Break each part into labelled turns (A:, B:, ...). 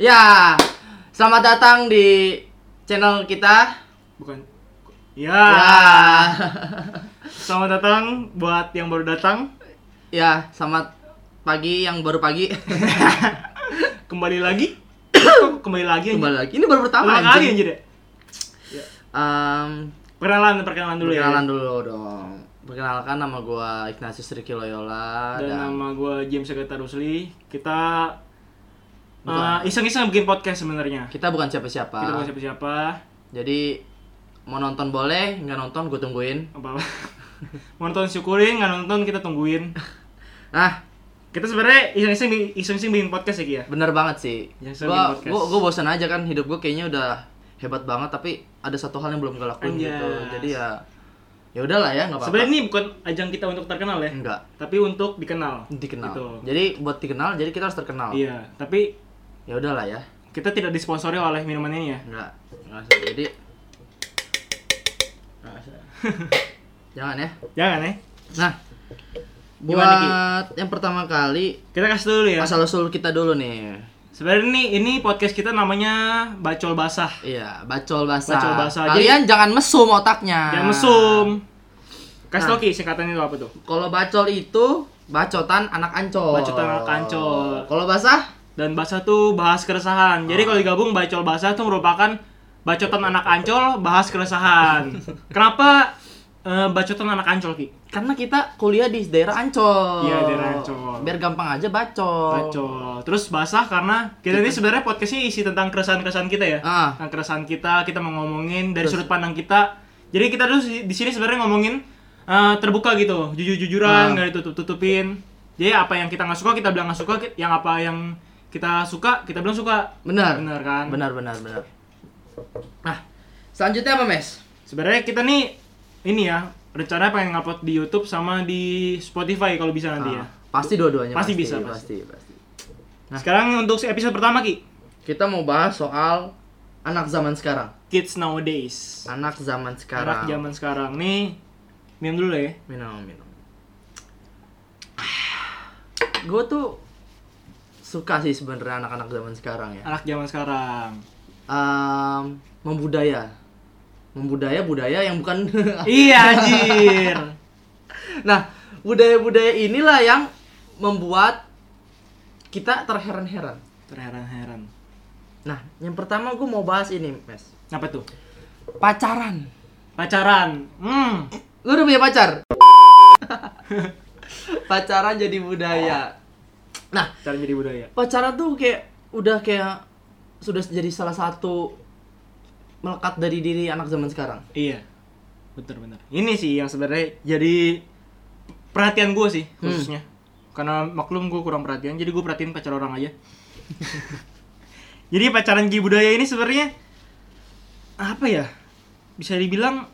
A: Ya, selamat datang di channel kita.
B: Bukan.
A: Ya,
B: Ya, selamat datang buat yang baru datang.
A: ya, selamat pagi yang baru pagi.
B: Kembali lagi. Kok kembali lagi
A: Kembali
B: anjir.
A: lagi. Ini baru pertama.
B: Ulang kali
A: anjing.
B: anjir ya.
A: Em,
B: Perkenalan, perkenalan dulu
A: perkenalan
B: ya.
A: dulu dong. Perkenalkan nama gua Ignatius Riki Loyola
B: Dan
A: dan,
B: nama gue James Agatha Rusli. Kita eh,
A: Bukan.
B: iseng-iseng bikin podcast sebenarnya.
A: kita bukan
B: Kita bukan
A: siapa-siapa.
B: siapa-siapa.
A: Jadi mau nonton boleh, nggak nonton gue tungguin.
B: Apa apa. Mau nonton syukurin, nggak nonton kita tungguin.
A: Nah,
B: Kita sebenarnya iseng-iseng iseng-iseng bikin podcast ya, Ki ya.
A: bener banget sih.
B: Yang sering
A: Gua,
B: podcast.
A: gua, gua bosan aja kan hidup gua kayaknya udah hebat banget tapi ada satu hal yang belum gue lakuin
B: Anjas.
A: gitu. Jadi ya ya udahlah ya nggak apa-apa. Hmm.
B: Sebenarnya ini bukan ajang kita untuk terkenal ya,
A: enggak
B: tapi untuk dikenal.
A: dikenal.
B: Gitu.
A: Jadi buat dikenal jadi kita harus terkenal.
B: Iya, tapi
A: Ya udahlah ya.
B: kita tidak disponsori oleh minuman ini ya.
A: Enggak. Enggak usah. Jadi Enggak usah. Jangan ya.
B: Jangan ya.
A: Nah,
B: Gimana, Ki?
A: buat yang pertama kali
B: Kita kasih dulu ya.
A: asal usul kita dulu nih.
B: Sebenarnya ini ini podcast kita namanya Bacol Basah.
A: Iya, bacol basah.
B: Bacol basah.
A: Kalian jangan mesum otaknya.
B: Yang mesum. Kasih
A: Nah.
B: tau Ki singkatannya itu apa tuh?
A: Kalau bacol itu bacotan anak ancol.
B: Bacotan anak ancol.
A: Kalau basah
B: Dan basah tuh bahas keresahan. Jadi kalau digabung Bacol Basah tuh merupakan bacotan anak ancol bahas keresahan. Kenapa eh, bacotan anak ancol Ki?
A: karena kita kuliah di daerah Ancol.
B: Iya, daerah Ancol.
A: Biar gampang aja bacol.
B: Bacol. Terus basah karena kita ini sebenarnya podcastnya isi tentang keresahan-keresahan kita ya.
A: Ah,
B: tentang keresahan kita, kita mau ngomongin dari
A: Terus.
B: sudut pandang kita. Jadi kita tuh di di sini sebenarnya ngomongin eh, terbuka gitu, jujur-jujuran,
A: Ah.
B: nggak ditutup-tutupin. Jadi apa yang kita nggak suka kita bilang nggak suka, ki- yang apa yang kita suka kita bilang suka.
A: benar.
B: Bener kan?
A: Benar, benar, benar. Nah, selanjutnya apa, Mes?
B: Sebenarnya kita nih ini ya rencana pengen ngupload di YouTube sama di Spotify kalau bisa nanti ya.
A: Ah, pasti dua-duanya.
B: Pasti bisa,
A: pasti, pasti. Nah.
B: Sekarang untuk episode pertama ki
A: Kita mau bahas soal anak zaman sekarang.
B: Kids Nowadays.
A: Anak zaman
B: Anak
A: sekarang.
B: zaman sekarang nih minum dulu ya.
A: minum minum gue tuh suka sih sebenarnya anak-anak zaman sekarang ya
B: Anak zaman sekarang.
A: Em, membudaya membudaya budaya yang bukan
B: iya anjir.
A: nah budaya-budaya inilah yang membuat kita terheran-heran
B: Terheran-heran.
A: nah yang pertama gue mau bahas ini mes
B: Apa tuh?
A: pacaran
B: Pacaran. Hmm.
A: lu udah punya pacar pacaran jadi budaya nah
B: Cara jadi budaya.
A: pacaran tuh kayak udah kayak sudah jadi salah satu melekat dari diri anak zaman sekarang.
B: Iya. Bener bener. Ini sih yang sebenarnya jadi perhatian gue sih
A: Hmm.
B: khususnya. Karena maklum gue kurang perhatian, jadi gue perhatiin pacar orang aja. jadi pacaran jadi budaya ini sebenarnya apa ya? Bisa dibilang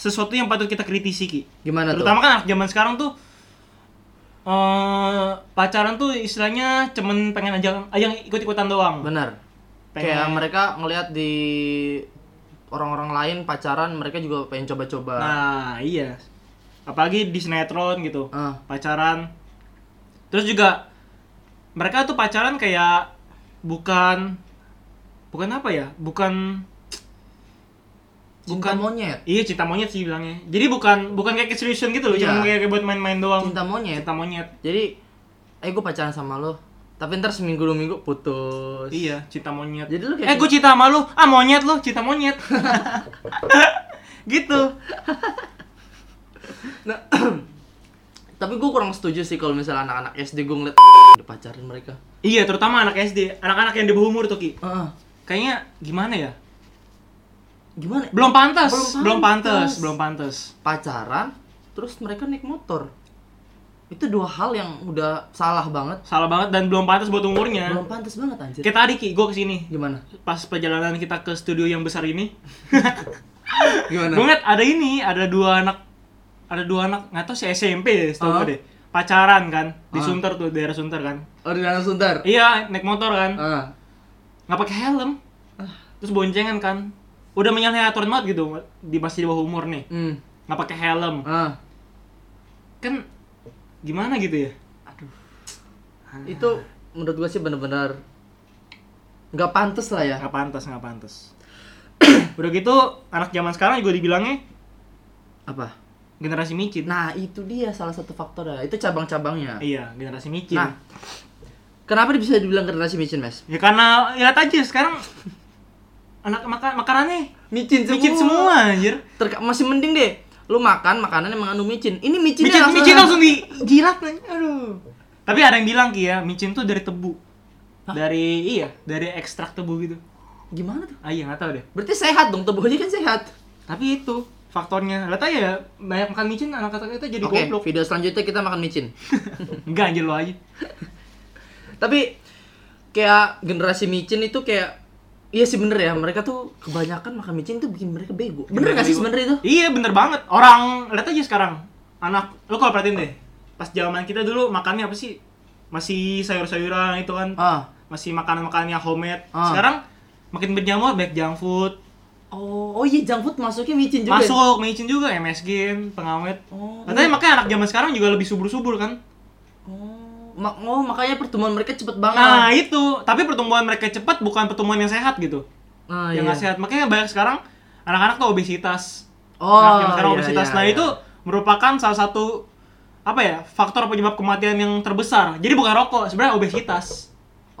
B: sesuatu yang patut kita kritisi ki.
A: Gimana
B: Terutama kan anak zaman sekarang tuh eh pacaran tuh istilahnya cuman pengen aja ah, yang ikut-ikutan
A: tuh?
B: doang.
A: Benar. Kayak mereka ngelihat di orang-orang lain pacaran, mereka juga pengen coba-coba.
B: Nah, iya. Apalagi di sinetron gitu.
A: Ah,
B: Pacaran. Terus juga mereka tuh pacaran kayak bukan bukan apa ya? Bukan
A: cinta
B: Bukan-
A: monyet.
B: iya cinta monyet sih bilangnya. Jadi bukan bukan kayak keseriusan gitu loh,
A: Iya.
B: cuma kayak, kayak buat main-main doang.
A: Cinta monyet.
B: Cinta monyet.
A: Jadi eh gue pacaran sama lo, tapi ntar seminggu dua minggu putus.
B: Iya, cinta monyet.
A: Jadi lu kayak
B: eh, gue cinta sama lu. Ah, monyet lu, cinta monyet. gitu.
A: Tapi gue kurang setuju sih kalau misalnya anak-anak SD gue ngeliat udah pacaran mereka.
B: Iya, terutama anak SD, anak-anak yang di bawah umur tuh, Ki.
A: Ah,
B: Kayaknya gimana ya?
A: gimana?
B: belum pantas
A: Belum
B: belum
A: pantas.
B: pantas belum pantas
A: pacaran terus mereka naik motor itu dua hal yang udah salah banget
B: salah banget dan belum pantas buat umurnya
A: belum pantas banget anjir
B: kita tadi ki gue kesini
A: gimana
B: pas perjalanan kita ke studio yang besar ini
A: gimana
B: gue ngeliat ada ini ada dua anak ada dua anak nggak tahu si SMP ya setahu
A: Ah.
B: gue deh pacaran kan di
A: Ah.
B: Sunter tuh daerah Sunter kan
A: oh di Danau Sunter
B: iya naik motor kan
A: ah
B: nggak pakai helm terus boncengan kan udah menyalahi aturan banget gitu di masih di bawah umur nih
A: hmm
B: nggak pakai helm
A: ah
B: kan gimana gitu ya
A: Ah. itu menurut gue sih bener-bener nggak pantas lah ya
B: nggak pantas nggak pantas udah gitu anak zaman sekarang juga dibilangnya
A: apa
B: generasi micin
A: nah itu dia salah satu faktornya itu cabang-cabangnya
B: iya generasi micin
A: nah kenapa bisa dibilang generasi micin mas
B: ya karena lihat aja sekarang anak makan makanannya
A: micin
B: micin semua anjir
A: Terka- masih mending deh lu makan makanan yang mengandung micin ini micinnya
B: micin
A: langsung,
B: micin langsung dijilat anjir. aduh tapi ada yang bilang ki ya micin tuh dari tebu
A: Hah?
B: dari iya dari ekstrak tebu gitu
A: gimana tuh
B: ah iya nggak tahu deh
A: berarti sehat dong tubuhnya kan sehat
B: tapi itu faktornya lihat aja ya, banyak makan micin anak kata kita jadi
A: oke
B: goblok
A: video selanjutnya kita makan micin
B: enggak anjir lo aja
A: tapi kayak generasi micin itu kayak iya sih bener ya mereka tuh kebanyakan makan micin tuh bikin mereka bego bener gak sih sebenarnya itu
B: Iya bener banget. Orang lihat aja sekarang anak lu kalau perhatiin deh. Pas zaman kita dulu makannya apa sih? Masih sayur-sayuran itu kan.
A: ah
B: Masih makanan-makanan yang homemade.
A: Ah.
B: Sekarang makin berjamur baik junk food.
A: oh oh iya junk food masuknya micin juga ya?
B: Masuk micin juga MSG, pengawet.
A: oh,
B: Katanya makanya anak zaman sekarang juga lebih subur-subur kan.
A: oh, ma- oh, makanya pertemuan mereka cepet banget
B: Nah, itu. Tapi pertumbuhan mereka cepat bukan pertumbuhan yang sehat gitu.
A: Nah,
B: yang
A: iya.
B: nggak sehat. Makanya banyak sekarang anak-anak tuh obesitas.
A: oh
B: anak yang sekarang
A: iya,
B: obesitas.
A: iya,
B: nah
A: iya.
B: itu merupakan salah satu apa ya faktor penyebab kematian yang terbesar. Jadi bukan rokok, sebenarnya obesitas.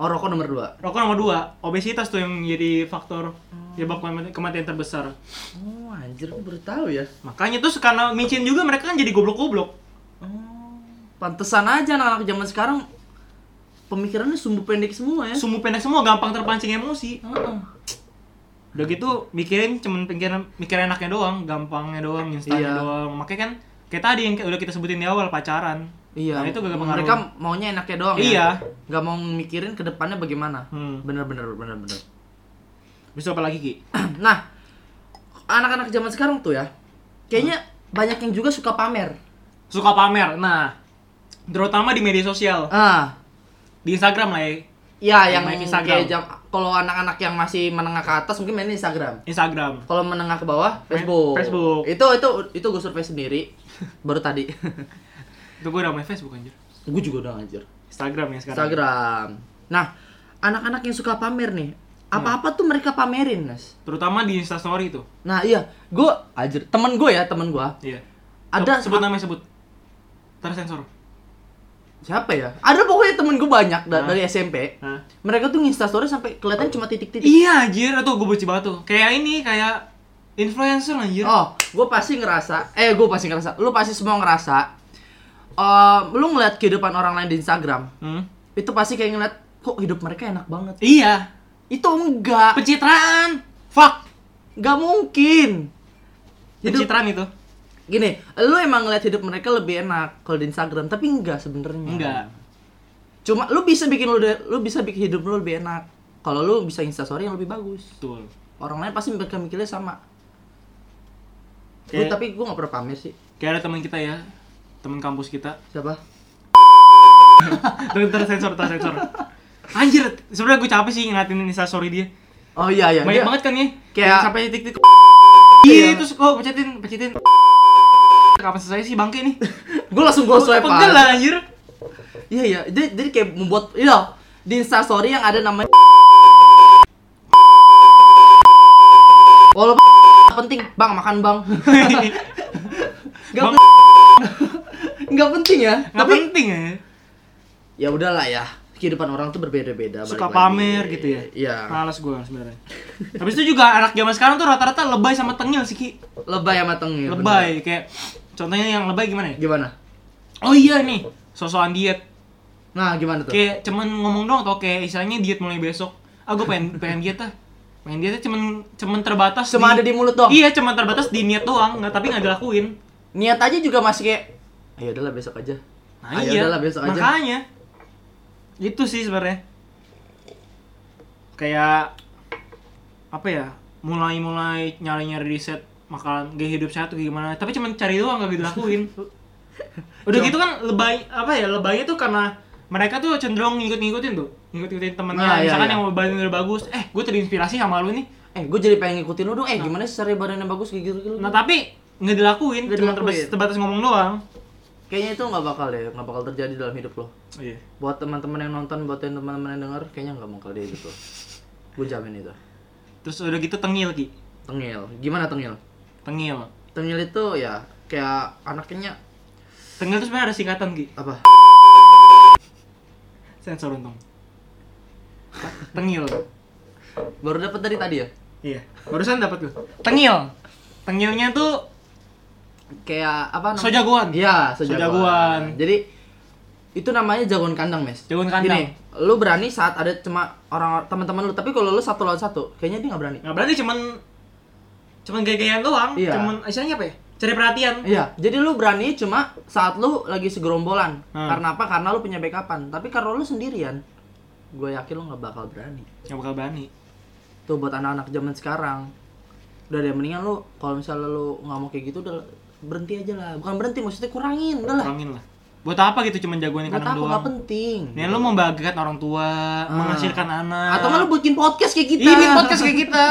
A: oh rokok nomor dua
B: Rokok nomor dua, obesitas tuh yang jadi faktor penyebab kematian- kematian terbesar.
A: oh anjir aku baru tahu ya
B: Makanya tuh karena micin juga mereka kan jadi goblok-goblok.
A: oh pantesan aja anak-anak zaman sekarang pemikirannya sumbu pendek semua ya
B: Sumbu pendek semua gampang terpancing emosi.
A: Heeh.
B: Udah gitu mikirin cuman pikiran mikirin enaknya doang, gampangnya doang, instannya
A: Iya.
B: doang. Makanya kan kayak tadi yang udah kita sebutin di awal pacaran.
A: Iya.
B: Nah, itu gak pengaruh.
A: Mereka maunya enaknya doang
B: Iya.
A: ya. Gak mau mikirin ke depannya bagaimana.
B: Hmm.
A: Bener bener bener bener.
B: Habis itu apa lagi, Ki?
A: nah, anak-anak zaman sekarang tuh ya,
B: Hmm.
A: kayaknya banyak yang juga suka pamer.
B: Suka pamer. Nah, terutama di media sosial.
A: Ah,
B: di Instagram lah ya
A: ya yang
B: Yang Oh. main Instagram.
A: kayak jam kalau anak-anak yang masih menengah ke atas mungkin main Instagram.
B: Instagram
A: Kalau menengah ke bawah
B: Main
A: Facebook.
B: Facebook.
A: Itu itu itu gue survei sendiri baru tadi.
B: itu gue udah main Facebook anjir
A: gue juga udah ngajar.
B: Instagram ya sekarang
A: Instagram. Nah, anak-anak yang suka pamer nih,
B: Hmm.
A: apa-apa tuh mereka pamerin, Nas.
B: terutama di Instastory itu
A: Nah iya, gue ajar temen gue ya temen gue
B: iya
A: ada
B: sebut namanya sebut tersensor
A: siapa ya? Ada pokoknya temen gue banyak da-
B: Hah?
A: dari SMP.
B: Hah?
A: Mereka tuh instastory sampai kelihatan cuma titik-titik.
B: iya anjir itu gue benci banget tuh kayak ini kayak influencer anjir
A: Oh, gue pasti ngerasa, eh gue pasti ngerasa, lu pasti semua ngerasa. eh lu ngeliat kehidupan orang lain di Instagram,
B: Hmm?
A: itu pasti kayak ngeliat kok hidup mereka enak banget.
B: iya
A: Itu enggak,
B: pencitraan fuck
A: enggak mungkin. Hidup
B: pencitraan itu
A: gini, lu emang ngeliat hidup mereka lebih enak kalau di Instagram, tapi enggak sebenarnya.
B: enggak
A: Cuma lu bisa bikin lu de- lu bisa bikin hidup lu lebih enak. Kalau lu bisa instastory yang lebih bagus.
B: betul
A: Orang lain pasti mereka mikirnya sama. Gua-
B: Kayak-
A: tapi gue gak pernah pamer sih.
B: kayak ada teman kita ya teman kampus kita
A: Siapa?
B: Ter- tersensor tersensor anjir sebenarnya gue capek sih ngeliatin Instastory dia
A: Oh iya iya.
B: banyak
A: dia-
B: banget kan ya
A: Kayak-
B: sampai titik-titik
A: Iya.
B: iya terus kok pencetin pencetin kapan selesai sih bangke nih
A: Gue langsung gue swipe
B: pegel
A: kan.
B: lah anjir
A: Iya iya. Jadi, jadi kayak membuat iya loh, di instastory yang ada namanya Walaupun penting, Bang, makan, Bang. Gak,
B: Bang.
A: pen- Gak penting ya.
B: nggak
A: tapi
B: penting ya
A: ya udahlah ya. Kehidupan orang tuh berbeda-beda. balik
B: suka
A: lagi.
B: pamer gitu ya
A: Iya.
B: males gue sebenarnya habis itu juga anak zaman sekarang tuh rata-rata lebay sama tengil sih ki
A: Lebay sama tengil. bener.
B: lebay kayak contohnya yang lebay gimana ya
A: Gimana?
B: oh iya nih sosokan diet
A: Nah, gimana tuh?
B: kayak cuman ngomong doang atau kayak istilahnya diet mulai besok ah gue pengen pengen diet ah pengen dietnya cuman cuman terbatas
A: Cuma ada di mulut doang.
B: iya cuman terbatas di niat doang nggak tapi nggak dilakuin
A: niat aja juga masih kayak ayo udahlah besok aja
B: Nah,
A: ayo
B: iya.
A: Ah, ya udahlah besok aja
B: Makanya. Itu sih sebenarnya. Kayak apa ya? Mulai-mulai nyari-nyari riset makanan gaya hidup sehat tuh kayak gimana. Tapi cuman cari doang gak dilakuin. Udah
A: Cuma-
B: gitu kan lebay apa ya? Lebaynya tuh karena mereka tuh cenderung ngikut-ngikutin tuh. Ngikut-ngikutin temennya.
A: Nah, iya,
B: Misalkan
A: iya.
B: yang badannya udah bagus, eh gue terinspirasi sama lu nih.
A: eh gue jadi pengen ngikutin lu dong eh gimana sih cari badan yang bagus kayak gitu, gitu.
B: Nah, tapi nggak dilakuin,
A: Nggak
B: cuma
A: dilakuin.
B: terbatas, terbatas ngomong doang.
A: kayaknya itu nggak bakal ya nggak bakal terjadi dalam hidup lo
B: Iya.
A: buat teman-teman yang nonton buat yang teman-teman yang denger kayaknya nggak bakal dia gitu Gue jamin itu.
B: Terus udah gitu tengil Ki.
A: Tengil. Gimana tengil?
B: Tengil.
A: Tengil itu ya kayak anaknya
B: Tengil tuh sebenarnya ada singkatan Ki.
A: apa?
B: Sensor untung. Tengil.
A: Baru dapat dari tadi ya?
B: Iya. Barusan dapat gue. Tengil. Tengilnya tuh
A: Kayak apa namanya?
B: so jagoan.
A: Iya,
B: Sejagoan.
A: sejagoan. Jadi itu namanya jagoan kandang, Mes.
B: Jagoan kandang.
A: Gini, lu berani saat ada cuma orang teman-teman lu, tapi kalau lu satu lawan satu, kayaknya dia nggak berani.
B: Nah, berarti cuman cuman gaya-gayaan doang,
A: Iya.
B: cuman istilahnya apa ya? Cari perhatian.
A: Iya, jadi lu berani cuma saat lu lagi segerombolan.
B: Hmm.
A: Karena apa? Karena lu punya backupan. Tapi kalau lu sendirian, gue yakin lu nggak bakal berani.
B: Nggak bakal berani.
A: Tuh buat anak-anak zaman sekarang. Udah deh, mendingan lu kalau misalnya lu nggak mau kayak gitu, udah berhenti aja lah. Bukan berhenti, maksudnya kurangin, udah lah.
B: Kurangin lah. Buat apa Ah. gitu cuman jagoan yang
A: Buat
B: kanan
A: apa nggak
B: doang?
A: penting.
B: Nih lu membahagiakan orang tua, menghasilkan anak.
A: Atau nggak lu bikin podcast kayak kita?
B: Ih, bikin podcast kayak kita.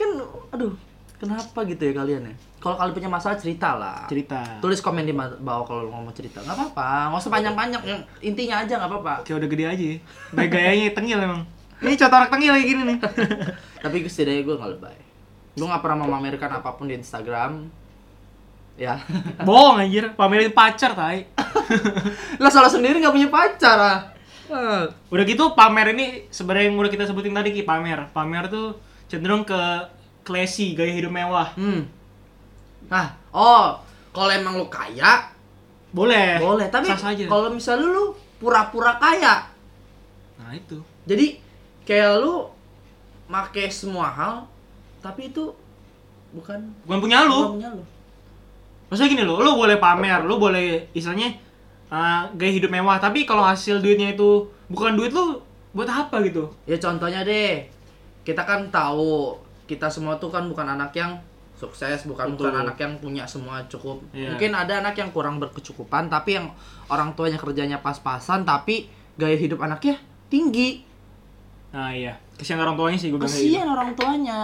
A: kan aduh kenapa gitu ya kalian ya kalau kalian punya masalah cerita lah
B: Cerita.
A: tulis komen di ma- bawah kalau lu ngomong cerita nggak apa-apa nggak usah panjang-panjang yang intinya aja nggak apa-apa
B: Kayak udah gede aja. ya. Gaya gayanya tengil emang. Ini contoh orang tengil kayak gini nih.
A: tapi setidaknya gue nggak lebay gue nggak pernah memamerkan apapun di Instagram ya
B: Bohong anjir, pamerin pacar tai.
A: lah salah sendiri nggak punya pacar ah Eh,
B: Udah gitu pamer ini sebenarnya yang udah kita sebutin tadi Ki, pamer. Pamer tuh cenderung ke classy, gaya hidup mewah.
A: hmm nah oh kalau emang lu kaya
B: Boleh.
A: boleh tapi
B: sah saja.
A: kalau misalnya lu pura-pura kaya
B: Nah, itu.
A: Jadi kayak lu make semua hal tapi itu bukan
B: Bukan punya lu.
A: bukan punya lu.
B: Maksudnya gini loh, lo boleh pamer, lo boleh istilahnya eh, gaya hidup mewah, tapi kalau hasil duitnya itu bukan duit lo, buat apa gitu?
A: Ya contohnya deh. Kita kan tahu kita semua tuh kan bukan anak yang sukses, bukan
B: Betul.
A: bukan anak yang punya semua cukup.
B: Iya.
A: Mungkin ada anak yang kurang berkecukupan tapi yang orang tuanya kerjanya pas-pasan tapi gaya hidup anaknya tinggi.
B: Nah iya, kesian orang tuanya sih gue bilang kayak gitu.
A: Kasihan orang tuanya.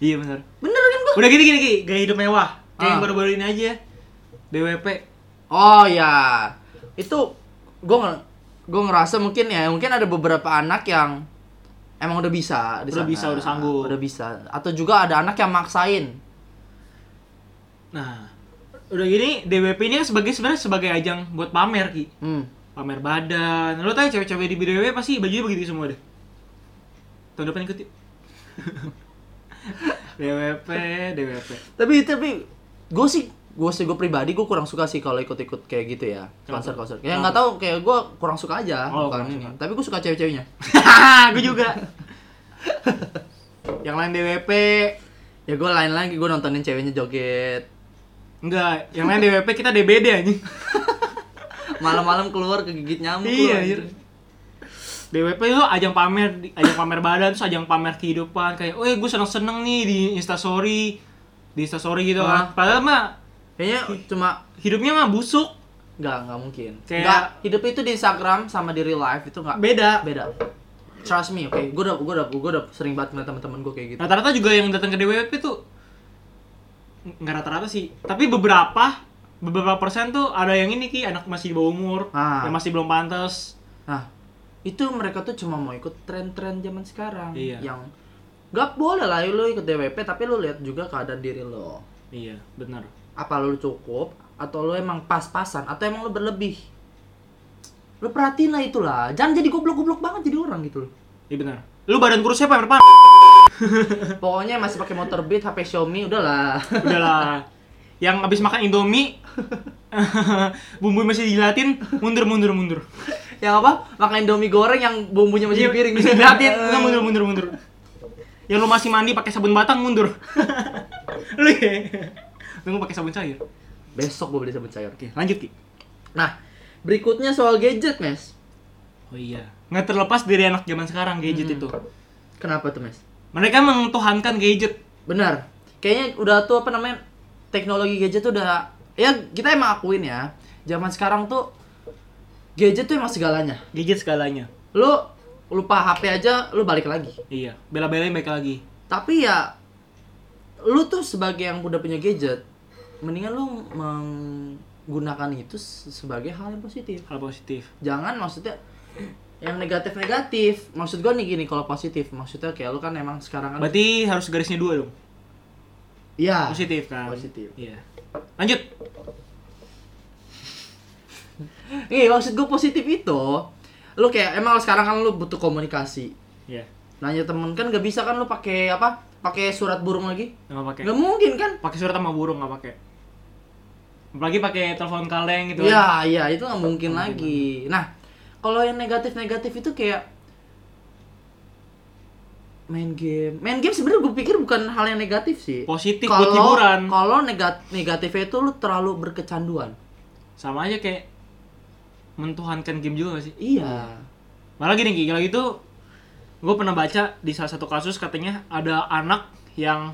B: Iya benar.
A: Bener kan gua?
B: Udah gitu, gini gini Ki, gaya hidup mewah. Kayak
A: Ah.
B: yang baru-baru ini aja. DWP.
A: Oh ya, itu gue gue ngerasa mungkin ya mungkin ada beberapa anak yang emang udah bisa di
B: Udah
A: sana.
B: bisa, udah sanggup.
A: udah bisa atau juga ada anak yang maksain
B: Nah, udah gini DWP ini kan sebagai sebenarnya sebagai ajang buat pamer Ki.
A: hmm.
B: Pamer badan. Lo tanya cewek-cewek di DWP pasti bajunya begitu semua deh. Tahun depan ikut yuk. DWP, DWP.
A: tapi tapi gue sih gue sih gue pribadi gue kurang suka sih kalau ikut-ikut kayak gitu ya
B: Kenapa?
A: konser konser kayak nggak tahu kayak gue kurang suka aja
B: Oh,
A: bukan
B: kurang
A: ini tapi gue suka cewek-ceweknya
B: gue juga. yang lain DWP,
A: ya gue lain lagi gue nontonin ceweknya joget
B: enggak. Yang lain DWP kita DBD anjing.
A: malam-malam keluar kegigit nyamuk
B: Iya,
A: lu,
B: anjir. DWP itu ajang pamer, di- ajang pamer badan, terus ajang pamer kehidupan kayak, "Woi, gue seneng-seneng nih di Instastory." Di Instastory gitu
A: Hah?
B: kan. Padahal mah
A: kayaknya cuma
B: hidupnya mah busuk,
A: Nggak, nggak mungkin.
B: Kayak-
A: Nggak, hidup itu di Instagram sama di real life itu nggak
B: beda.
A: beda. Trust me, oke. Gue udah, gue udah, gue udah sering banget ngeliat teman-teman gue kayak gitu.
B: Rata-rata juga yang datang ke DWP tuh enggak rata-rata sih, tapi beberapa beberapa persen tuh ada yang ini ki anak masih di bawah umur,
A: Ah.
B: yang masih belum pantas.
A: Nah, itu mereka tuh cuma mau ikut tren-tren zaman sekarang.
B: Iya.
A: Yang nggak boleh lah lu ikut DWP, tapi lu lihat juga keadaan diri lo.
B: Iya, benar.
A: Apa lu cukup? Atau lu emang pas-pasan? Atau emang lu berlebih? Lu perhatiin lah itulah. Jangan jadi goblok-goblok banget jadi orang gitu loh.
B: Iya benar. Lu badan kurus siapa yang depan?
A: Pokoknya masih pakai motor Beat, HP Xiaomi, udahlah.
B: Udahlah. Yang abis makan Indomie bumbu masih dijilatin, mundur mundur mundur.
A: yang apa? Makan Indomie goreng yang bumbunya masih
B: Iya,
A: di piring.
B: bisa dijilatin, udah mundur mundur mundur. Yang lu masih mandi pakai sabun batang mundur. lu ya. Tunggu pakai sabun cair.
A: Besok gue beli sabun cair.
B: Oke, lanjut Ki.
A: Nah, berikutnya soal gadget, Mes.
B: Oh iya. Hmm. Nggak terlepas dari anak zaman sekarang gadget itu.
A: Kenapa tuh, Mes?
B: Mereka mentuhankan gadget.
A: Benar. Kayaknya udah tuh apa namanya? Teknologi gadget tuh udah ya kita emang akuin ya. Zaman sekarang tuh gadget tuh emang segalanya.
B: Gadget segalanya.
A: Lu lupa HP aja lu balik lagi.
B: Iya, bela-belain mereka lagi.
A: Tapi ya lu tuh sebagai yang udah punya gadget, mendingan lu menggunakan itu se- sebagai hal yang positif.
B: Hal positif.
A: Jangan maksudnya yang negatif negatif maksud gua nih gini kalau positif maksudnya kayak lu kan emang sekarang kan
B: Berarti harus garisnya dua dong.
A: iya
B: Positif kan.
A: Positif.
B: Iya. Lanjut.
A: Nih, maksud gue positif itu, lu kayak emang sekarang kan lu butuh komunikasi.
B: Iya.
A: Nanya temen kan gak bisa kan lu pakai apa? Pakai surat burung lagi?
B: Enggak pakai.
A: Gak mungkin kan?
B: Pakai surat sama burung enggak pakai. Apalagi pakai telepon kaleng gitu. kan.
A: Iya, iya, itu nggak mungkin lagi. Nah, kalau yang negatif-negatif itu kayak main game. Main game sebenarnya gue pikir bukan hal yang negatif sih.
B: Positif buat
A: Kalau
B: hiburan.
A: kalau negat negatifnya itu lu terlalu berkecanduan.
B: Sama aja kayak mentuhankan game juga gak sih?
A: Iya.
B: Malah gini Ki, kalau gitu gue pernah baca di salah satu kasus katanya ada anak yang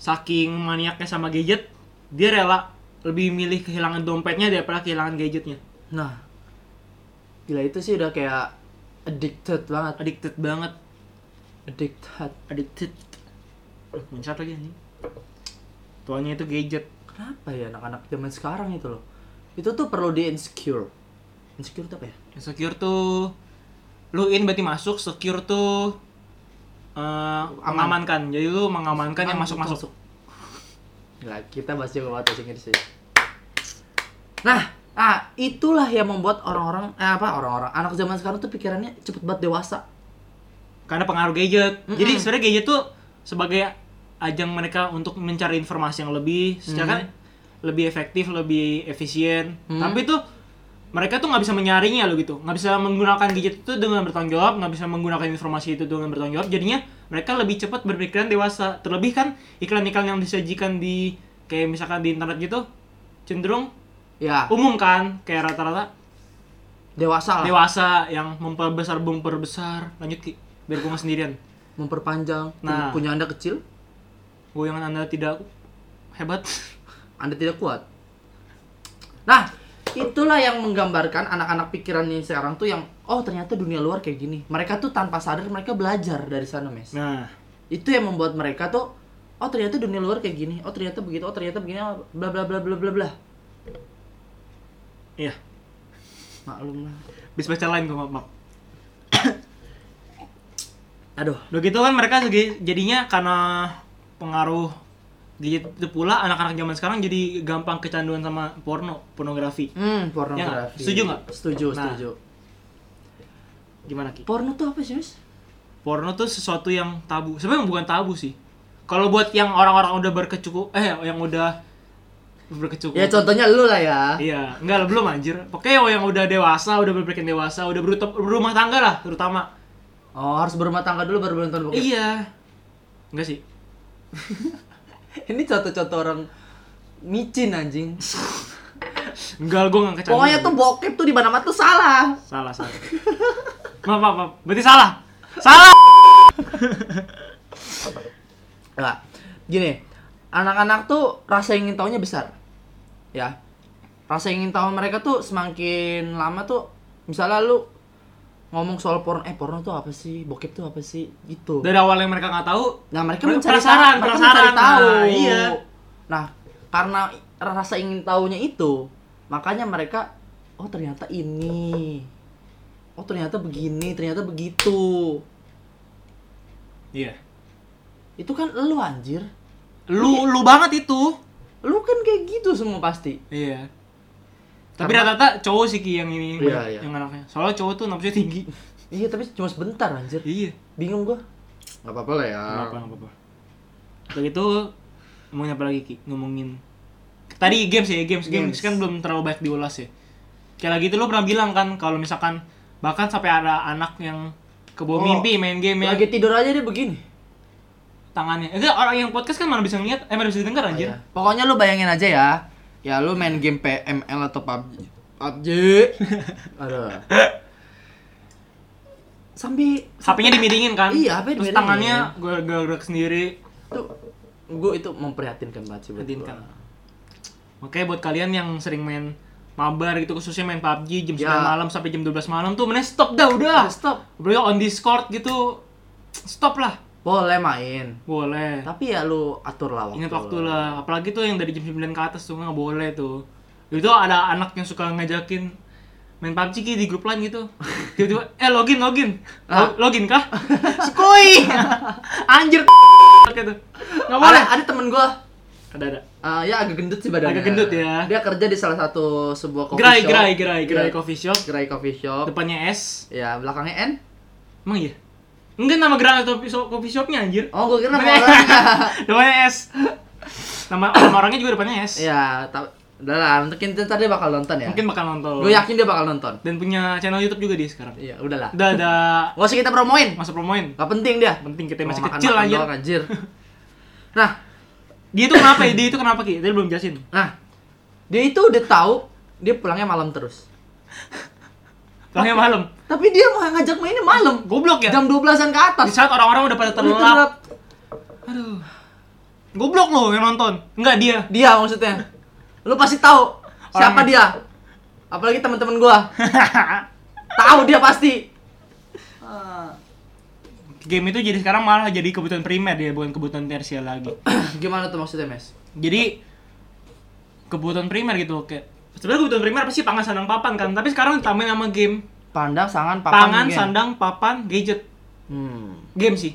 B: saking maniaknya sama gadget, dia rela lebih milih kehilangan dompetnya daripada kehilangan gadgetnya.
A: Nah, gila itu sih udah kayak addicted banget.
B: Addicted banget,
A: Addicted.
B: addicted. Aduh, Mencat lagi anjing. Tuanya itu gadget.
A: Kenapa ya anak-anak zaman sekarang itu loh? Itu tuh perlu di insecure. Insecure tuh apa ya?
B: Secure tuh lu in berarti masuk, secure tuh eh mengamankan. Jadi lu mengamankan yang masuk-masuk.
A: Gila, kita bahas juga bahasa Inggris sih. Nah, ah itulah yang membuat orang-orang eh, apa orang-orang anak zaman sekarang tuh pikirannya cepet banget dewasa.
B: karena pengaruh gadget.
A: Mm-mm.
B: Jadi sebenarnya gadget tuh sebagai ajang mereka untuk mencari informasi yang lebih, secara kan lebih efektif, lebih efisien.
A: Mm.
B: Tapi tuh mereka tuh nggak bisa menyaringnya loh gitu, nggak bisa menggunakan gadget itu dengan bertanggung jawab, nggak bisa menggunakan informasi itu dengan bertanggung jawab. Jadinya mereka lebih cepat berpikiran dewasa. Terlebih kan iklan-iklan yang disajikan di kayak misalkan di internet gitu cenderung
A: Ya,
B: umum kan, kayak rata-rata
A: dewasa lah.
B: dewasa yang memperbesar memperbesar lanjut ki biar gue nggak sendirian
A: Memperpanjang
B: Nah.
A: punya Anda kecil,
B: goyangan anda tidak hebat
A: Anda tidak kuat. Nah, itulah yang menggambarkan anak-anak pikiran ini sekarang tuh yang oh ternyata dunia luar kayak gini. Mereka tuh tanpa sadar mereka belajar dari sana, Mes.
B: nah
A: itu yang membuat mereka tuh oh ternyata dunia luar kayak gini oh ternyata begitu oh ternyata begini oh, bla bla bla bla bla bla
B: iya
A: maklum lah
B: bis baca lain gue maaf
A: aduh
B: udah gitu kan mereka segi- jadinya karena pengaruh gadget itu pula anak-anak zaman sekarang jadi gampang kecanduan sama porno pornografi
A: hmm
B: Ya nggak?
A: pornografi
B: Setuju nggak?
A: setuju
B: Nah.
A: setuju
B: gimana ki
A: porno tuh apa sih mas
B: porno tuh sesuatu yang tabu sebenarnya bukan tabu sih kalau buat yang orang-orang udah berkecukup eh yang udah berkecukup
A: ya contohnya lu lah ya
B: Iya, enggak lah belum anjir. Pokoknya yang udah dewasa, udah berpikir dewasa, udah berutup- berumah tangga lah terutama.
A: oh harus berumah tangga dulu baru nonton bokep
B: Iya. Enggak sih.
A: ini contoh-contoh orang micin anjing
B: Enggak, gue enggak kecanduan.
A: pokoknya tuh bokep tuh di mana mana tuh salah
B: salah, salah. maaf, maaf, maaf. Berarti salah. Salah.
A: Nah, gini, anak-anak tuh rasa ingin tahunya besar. Ya. Rasa ingin tahu mereka tuh semakin lama tuh misalnya lu ngomong soal porno, eh porno tuh apa sih? Bokep tuh apa sih? Gitu.
B: Dari awal yang mereka nggak tahu,
A: Nah, mereka,
B: Mereka
A: mencari
B: penasaran,
A: mereka
B: penasaran.
A: mencari tahu.
B: Nah, iya.
A: Nah, karena rasa ingin tahunya itu, makanya mereka oh ternyata ini. Oh ternyata begini, ternyata begitu.
B: iya.
A: Itu kan lu anjir.
B: Lu lu banget itu.
A: Lu kan kayak gitu semua pasti.
B: Iya. Tapi
A: Karena-
B: rata-rata cowok sih Ki yang ini
A: Iya, iya.
B: yang anaknya. Soalnya cowok tuh nafsunya tinggi.
A: Iya tapi cuma sebentar anjir.
B: iya.
A: Bingung gua. Gak apa-apa lah ya.
B: Enggak apa, enggak apa. Udah gitu ngomongin apa lagi Ki? Ngomongin tadi games ya, games,
A: Games.
B: games, kan belum terlalu banyak diulas ya. Kayak lagi itu lu pernah bilang kan kalau misalkan bahkan sampai ada anak yang kebawa
A: Oh,
B: mimpi main game ya
A: Lagi tidur aja dia begini.
B: tangannya. Enggak orang yang podcast kan mana bisa ngeliat, eh mana bisa denger anjir.
A: Ya. Pokoknya lu bayangin aja ya. Ya lu main game PML atau PUBG. PUBG. Aduh. Sampai
B: HP-nya dimiringin kan?
A: Iya, HP-nya
B: Terus
A: dimiringin.
B: tangannya gue gerak sendiri.
A: tuh gua itu memprihatinkan banget sih buat
B: Hatiin kan.
A: gua.
B: Oke, buat kalian yang sering main mabar gitu khususnya main PUBG jam
A: Ya.
B: 9 malam sampai jam 12 malam tuh mending stop dah udah.
A: Stop.
B: Bro on Discord gitu stop lah.
A: Boleh main.
B: Boleh.
A: Tapi ya lu atur lah waktu.
B: Ingat waktu lah. Apalagi tuh yang dari jam 9 ke atas tuh nggak boleh tuh. Itu ada anak yang suka ngajakin main PUBG Ki, di grup lain gitu tiba-tiba eh login login
A: Ah.
B: Lo- login kah skui anjir gitu nggak boleh
A: Ada, ada temen gue
B: ada ada
A: ya agak gendut sih badannya.
B: Agak gendut ya.
A: Dia kerja di salah satu sebuah coffee
B: gerai
A: shop.
B: gerai gerai gerai
A: Iya,
B: coffee shop
A: Gerai coffee shop.
B: depannya S
A: Ya, belakangnya N.
B: emang iya enggak nama gerai coffee shop coffee shopnya anjir
A: Oh, gue kira nama orangnya.
B: depannya S nama nama orangnya juga depannya S
A: Ya, tapi udah lah, mungkin ntar dia bakal nonton ya.
B: mungkin bakal nonton
A: Gue yakin dia bakal nonton.
B: dan punya channel YouTube juga dia sekarang
A: Iya, udahlah.
B: udah ada
A: Gak usah kita promoin.
B: masa promoin
A: Gak penting dia.
B: penting kita masih
A: Mau makan-
B: kecil
A: makan
B: anjir
A: doang, anjir. Nah,
B: dia itu kenapa ya dia itu kenapa ki dia belum jelasin
A: nah. Dia itu udah tahu dia pulangnya malam terus.
B: soalnya malam
A: Tapi dia mau ngajak mainnya malam.
B: goblok ya
A: Jam 12-an ke atas.
B: di saat orang-orang udah pada
A: Udah
B: terlelap aduh goblok loh yang nonton enggak dia
A: Dia maksudnya. Lu pasti tahu siapa dia.
B: Orangnya.
A: Apalagi teman-teman gua. Tahu dia pasti.
B: game itu jadi sekarang malah jadi kebutuhan primer ya bukan kebutuhan tersier lagi
A: Gimana tuh maksudnya, Mes?
B: jadi kebutuhan primer gitu kayak sebenarnya kebutuhan primer pasti pangan sandang papan kan tapi sekarang ditambahin sama game
A: Pandang, sangan, papan,
B: pangan
A: mungkin.
B: sandang papan gadget
A: Hmm.
B: game sih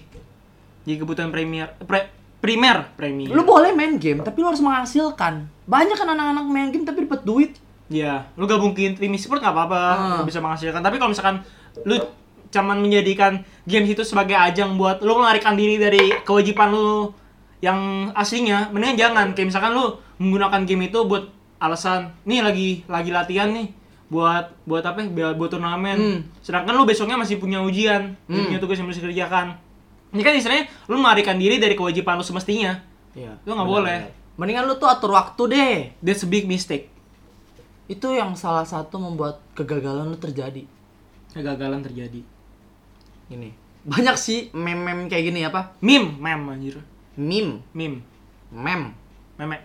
B: jadi kebutuhan premier pre, primer premier
A: Lu boleh main game, tapi lu harus menghasilkan. Banyak kan anak-anak main game tapi dapat duit.
B: ya lu gabung ke Intrimi Sport nggak apa-apa
A: Ah.
B: lu bisa menghasilkan tapi kalau misalkan lu cuman menjadikan games itu sebagai ajang buat lu melarikan diri dari kewajiban lu yang aslinya mendingan jangan kayak misalkan lu menggunakan game itu buat alasan nih lagi lagi latihan nih buat buat apa ya, biar- buat turnamen
A: Hmm.
B: sedangkan lu besoknya masih punya ujian
A: Hmm.
B: punya tugas yang harus dikerjakan ini kan istilahnya lu melarikan diri dari kewajiban lu semestinya
A: Iya.
B: Lu nggak boleh.
A: Mendingan lu tuh atur waktu deh.
B: that's a big mistake
A: Itu yang salah satu membuat kegagalan lu terjadi.
B: kegagalan terjadi
A: Gini. Banyak sih meme-meme kayak gini apa?
B: meme meme anjir
A: Meme,
B: meme
A: meme.
B: memek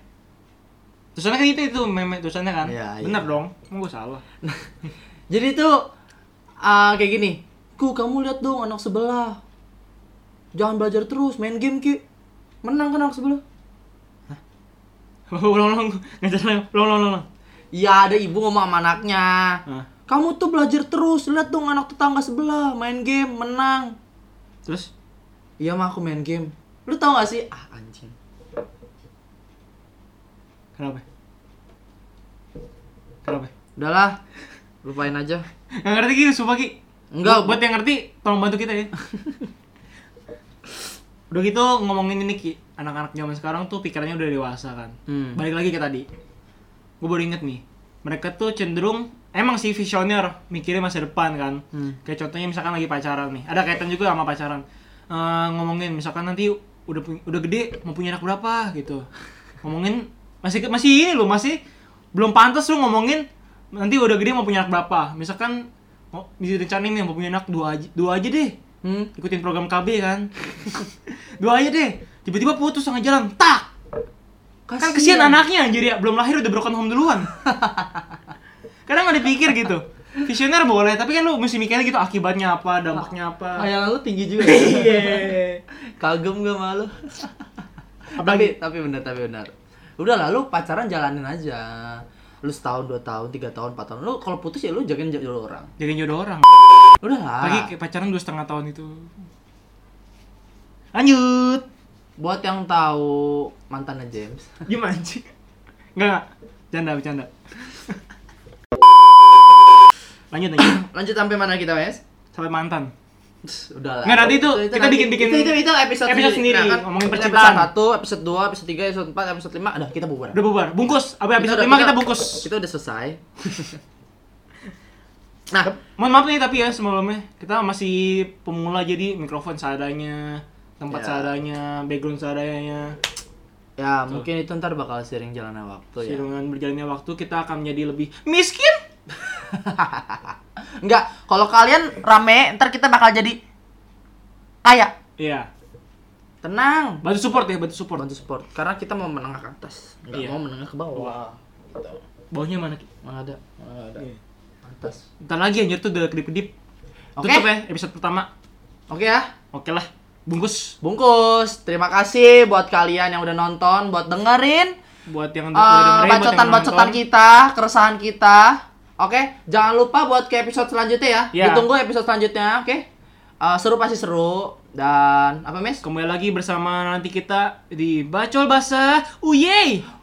B: tulisannya kan itu itu memek tulisannya kan
A: Iya, iya.
B: bener dong emang gue salah
A: Jadi tuh ah, kayak gini. Ku kamu lihat dong anak sebelah. Jangan belajar terus, main game ki. Menang kan anak sebelah.
B: ulang ulang nggak salah ulang ulang ulang
A: Iya ada ibu ngomong sama anaknya.
B: nah,
A: Kamu tuh belajar terus, lihat dong anak tetangga sebelah main game, menang.
B: terus
A: Iya mah aku main game. Lu tau gak sih? Ah anjing.
B: kenapa kenapa
A: Udahlah, lupain aja.
B: nggak ngerti ki sumpah ki
A: Enggak,
B: buat yang ngerti tolong bantu kita ya udah gitu ngomongin ini ki anak-anak zaman sekarang tuh pikirannya udah dewasa kan
A: Hmm.
B: balik lagi ke tadi gue baru inget nih mereka tuh cenderung emang sih visioner mikirnya masa depan kan
A: Hmm.
B: kayak contohnya misalkan lagi pacaran nih ada kaitan juga sama pacaran Eh, ngomongin misalkan nanti udah pu- udah gede mau punya anak berapa gitu ngomongin masih ke- masih ini loh masih belum pantas lu ngomongin nanti udah gede mau punya anak berapa misalkan mau bisa rencanain nih mau punya anak dua aja dua aja deh
A: Hmm.
B: ikutin program KB kan dua aja deh tiba-tiba putus tengah jalan tak kan kesian anaknya anjir ya belum lahir udah broken home duluan kadang nggak dipikir gitu visioner boleh tapi kan lu mesti mikirnya gitu akibatnya apa dampaknya apa
A: Kayak lu tinggi juga.
B: iya
A: Kagum gak malu.
B: Apalagi-
A: tapi tapi benar tapi benar. Udah lah lu pacaran jalanin aja. Lu setahun, dua tahun, tiga tahun, empat tahun. Lu kalau putus ya lu jagain jodoh orang.
B: jadi jodoh orang
A: Ah. Udah lah.
B: lagi kayak pacaran dua setengah tahun itu lanjut
A: Buat yang tahu mantannya James.
B: gimana sih nggak nggak canda bercanda lanjut lanjut
A: Lanjut sampai mana kita, Wes?
B: sampai mantan
A: Udahlah.
B: Nggak, nanti itu kita
A: nanti-
B: bikin-bikin
A: itu, itu, itu episode, Nah, kan
B: episode sendiri, ngomongin percintaan.
A: Episode 1, episode 2, episode 3, episode 4, episode 5. Udah, kita bubar.
B: udah bubar bungkus apa
A: Kita
B: episode
A: udah-
B: lima kita bungkus
A: Kita udah selesai. nah,
B: Mohon maaf nih tapi ya sebelumnya kita masih pemula jadi mikrofon seadanya, tempat
A: Ya.
B: seadanya, background seadanya.
A: ya mungkin itu ntar bakal sering jalannya waktu ya.
B: Dengan berjalannya waktu kita akan menjadi lebih miskin.
A: Enggak, kalau kalian rame, ntar kita bakal jadi kaya.
B: Iya.
A: Tenang.
B: Bantu support ya, bantu support.
A: Bantu support, karena kita mau menengah ke atas, nggak
B: Iya.
A: mau menengah ke bawah. Gitu.
B: Baunya mana? Ki?
A: Mana ada? Mana ada?
B: Iya.
A: Atas.
B: Ntar lagi anjir tuh udah kedip-kedip.
A: Oke.
B: Tutup ya episode pertama.
A: Oke ya.
B: Oke lah. Bungkus
A: Bungkus, terima kasih buat kalian yang udah nonton, buat dengerin
B: buat
A: eh,
B: yang udah dengerin, buat yang
A: bacotan-bacotan
B: nonton.
A: kita, keresahan kita. Oke, jangan lupa buat ke episode selanjutnya ya.
B: Ya.
A: Ditunggu episode selanjutnya, oke? Eh, seru pasti seru dan apa mes?
B: Kembali lagi bersama nanti kita di Bacol Basah. Uyey!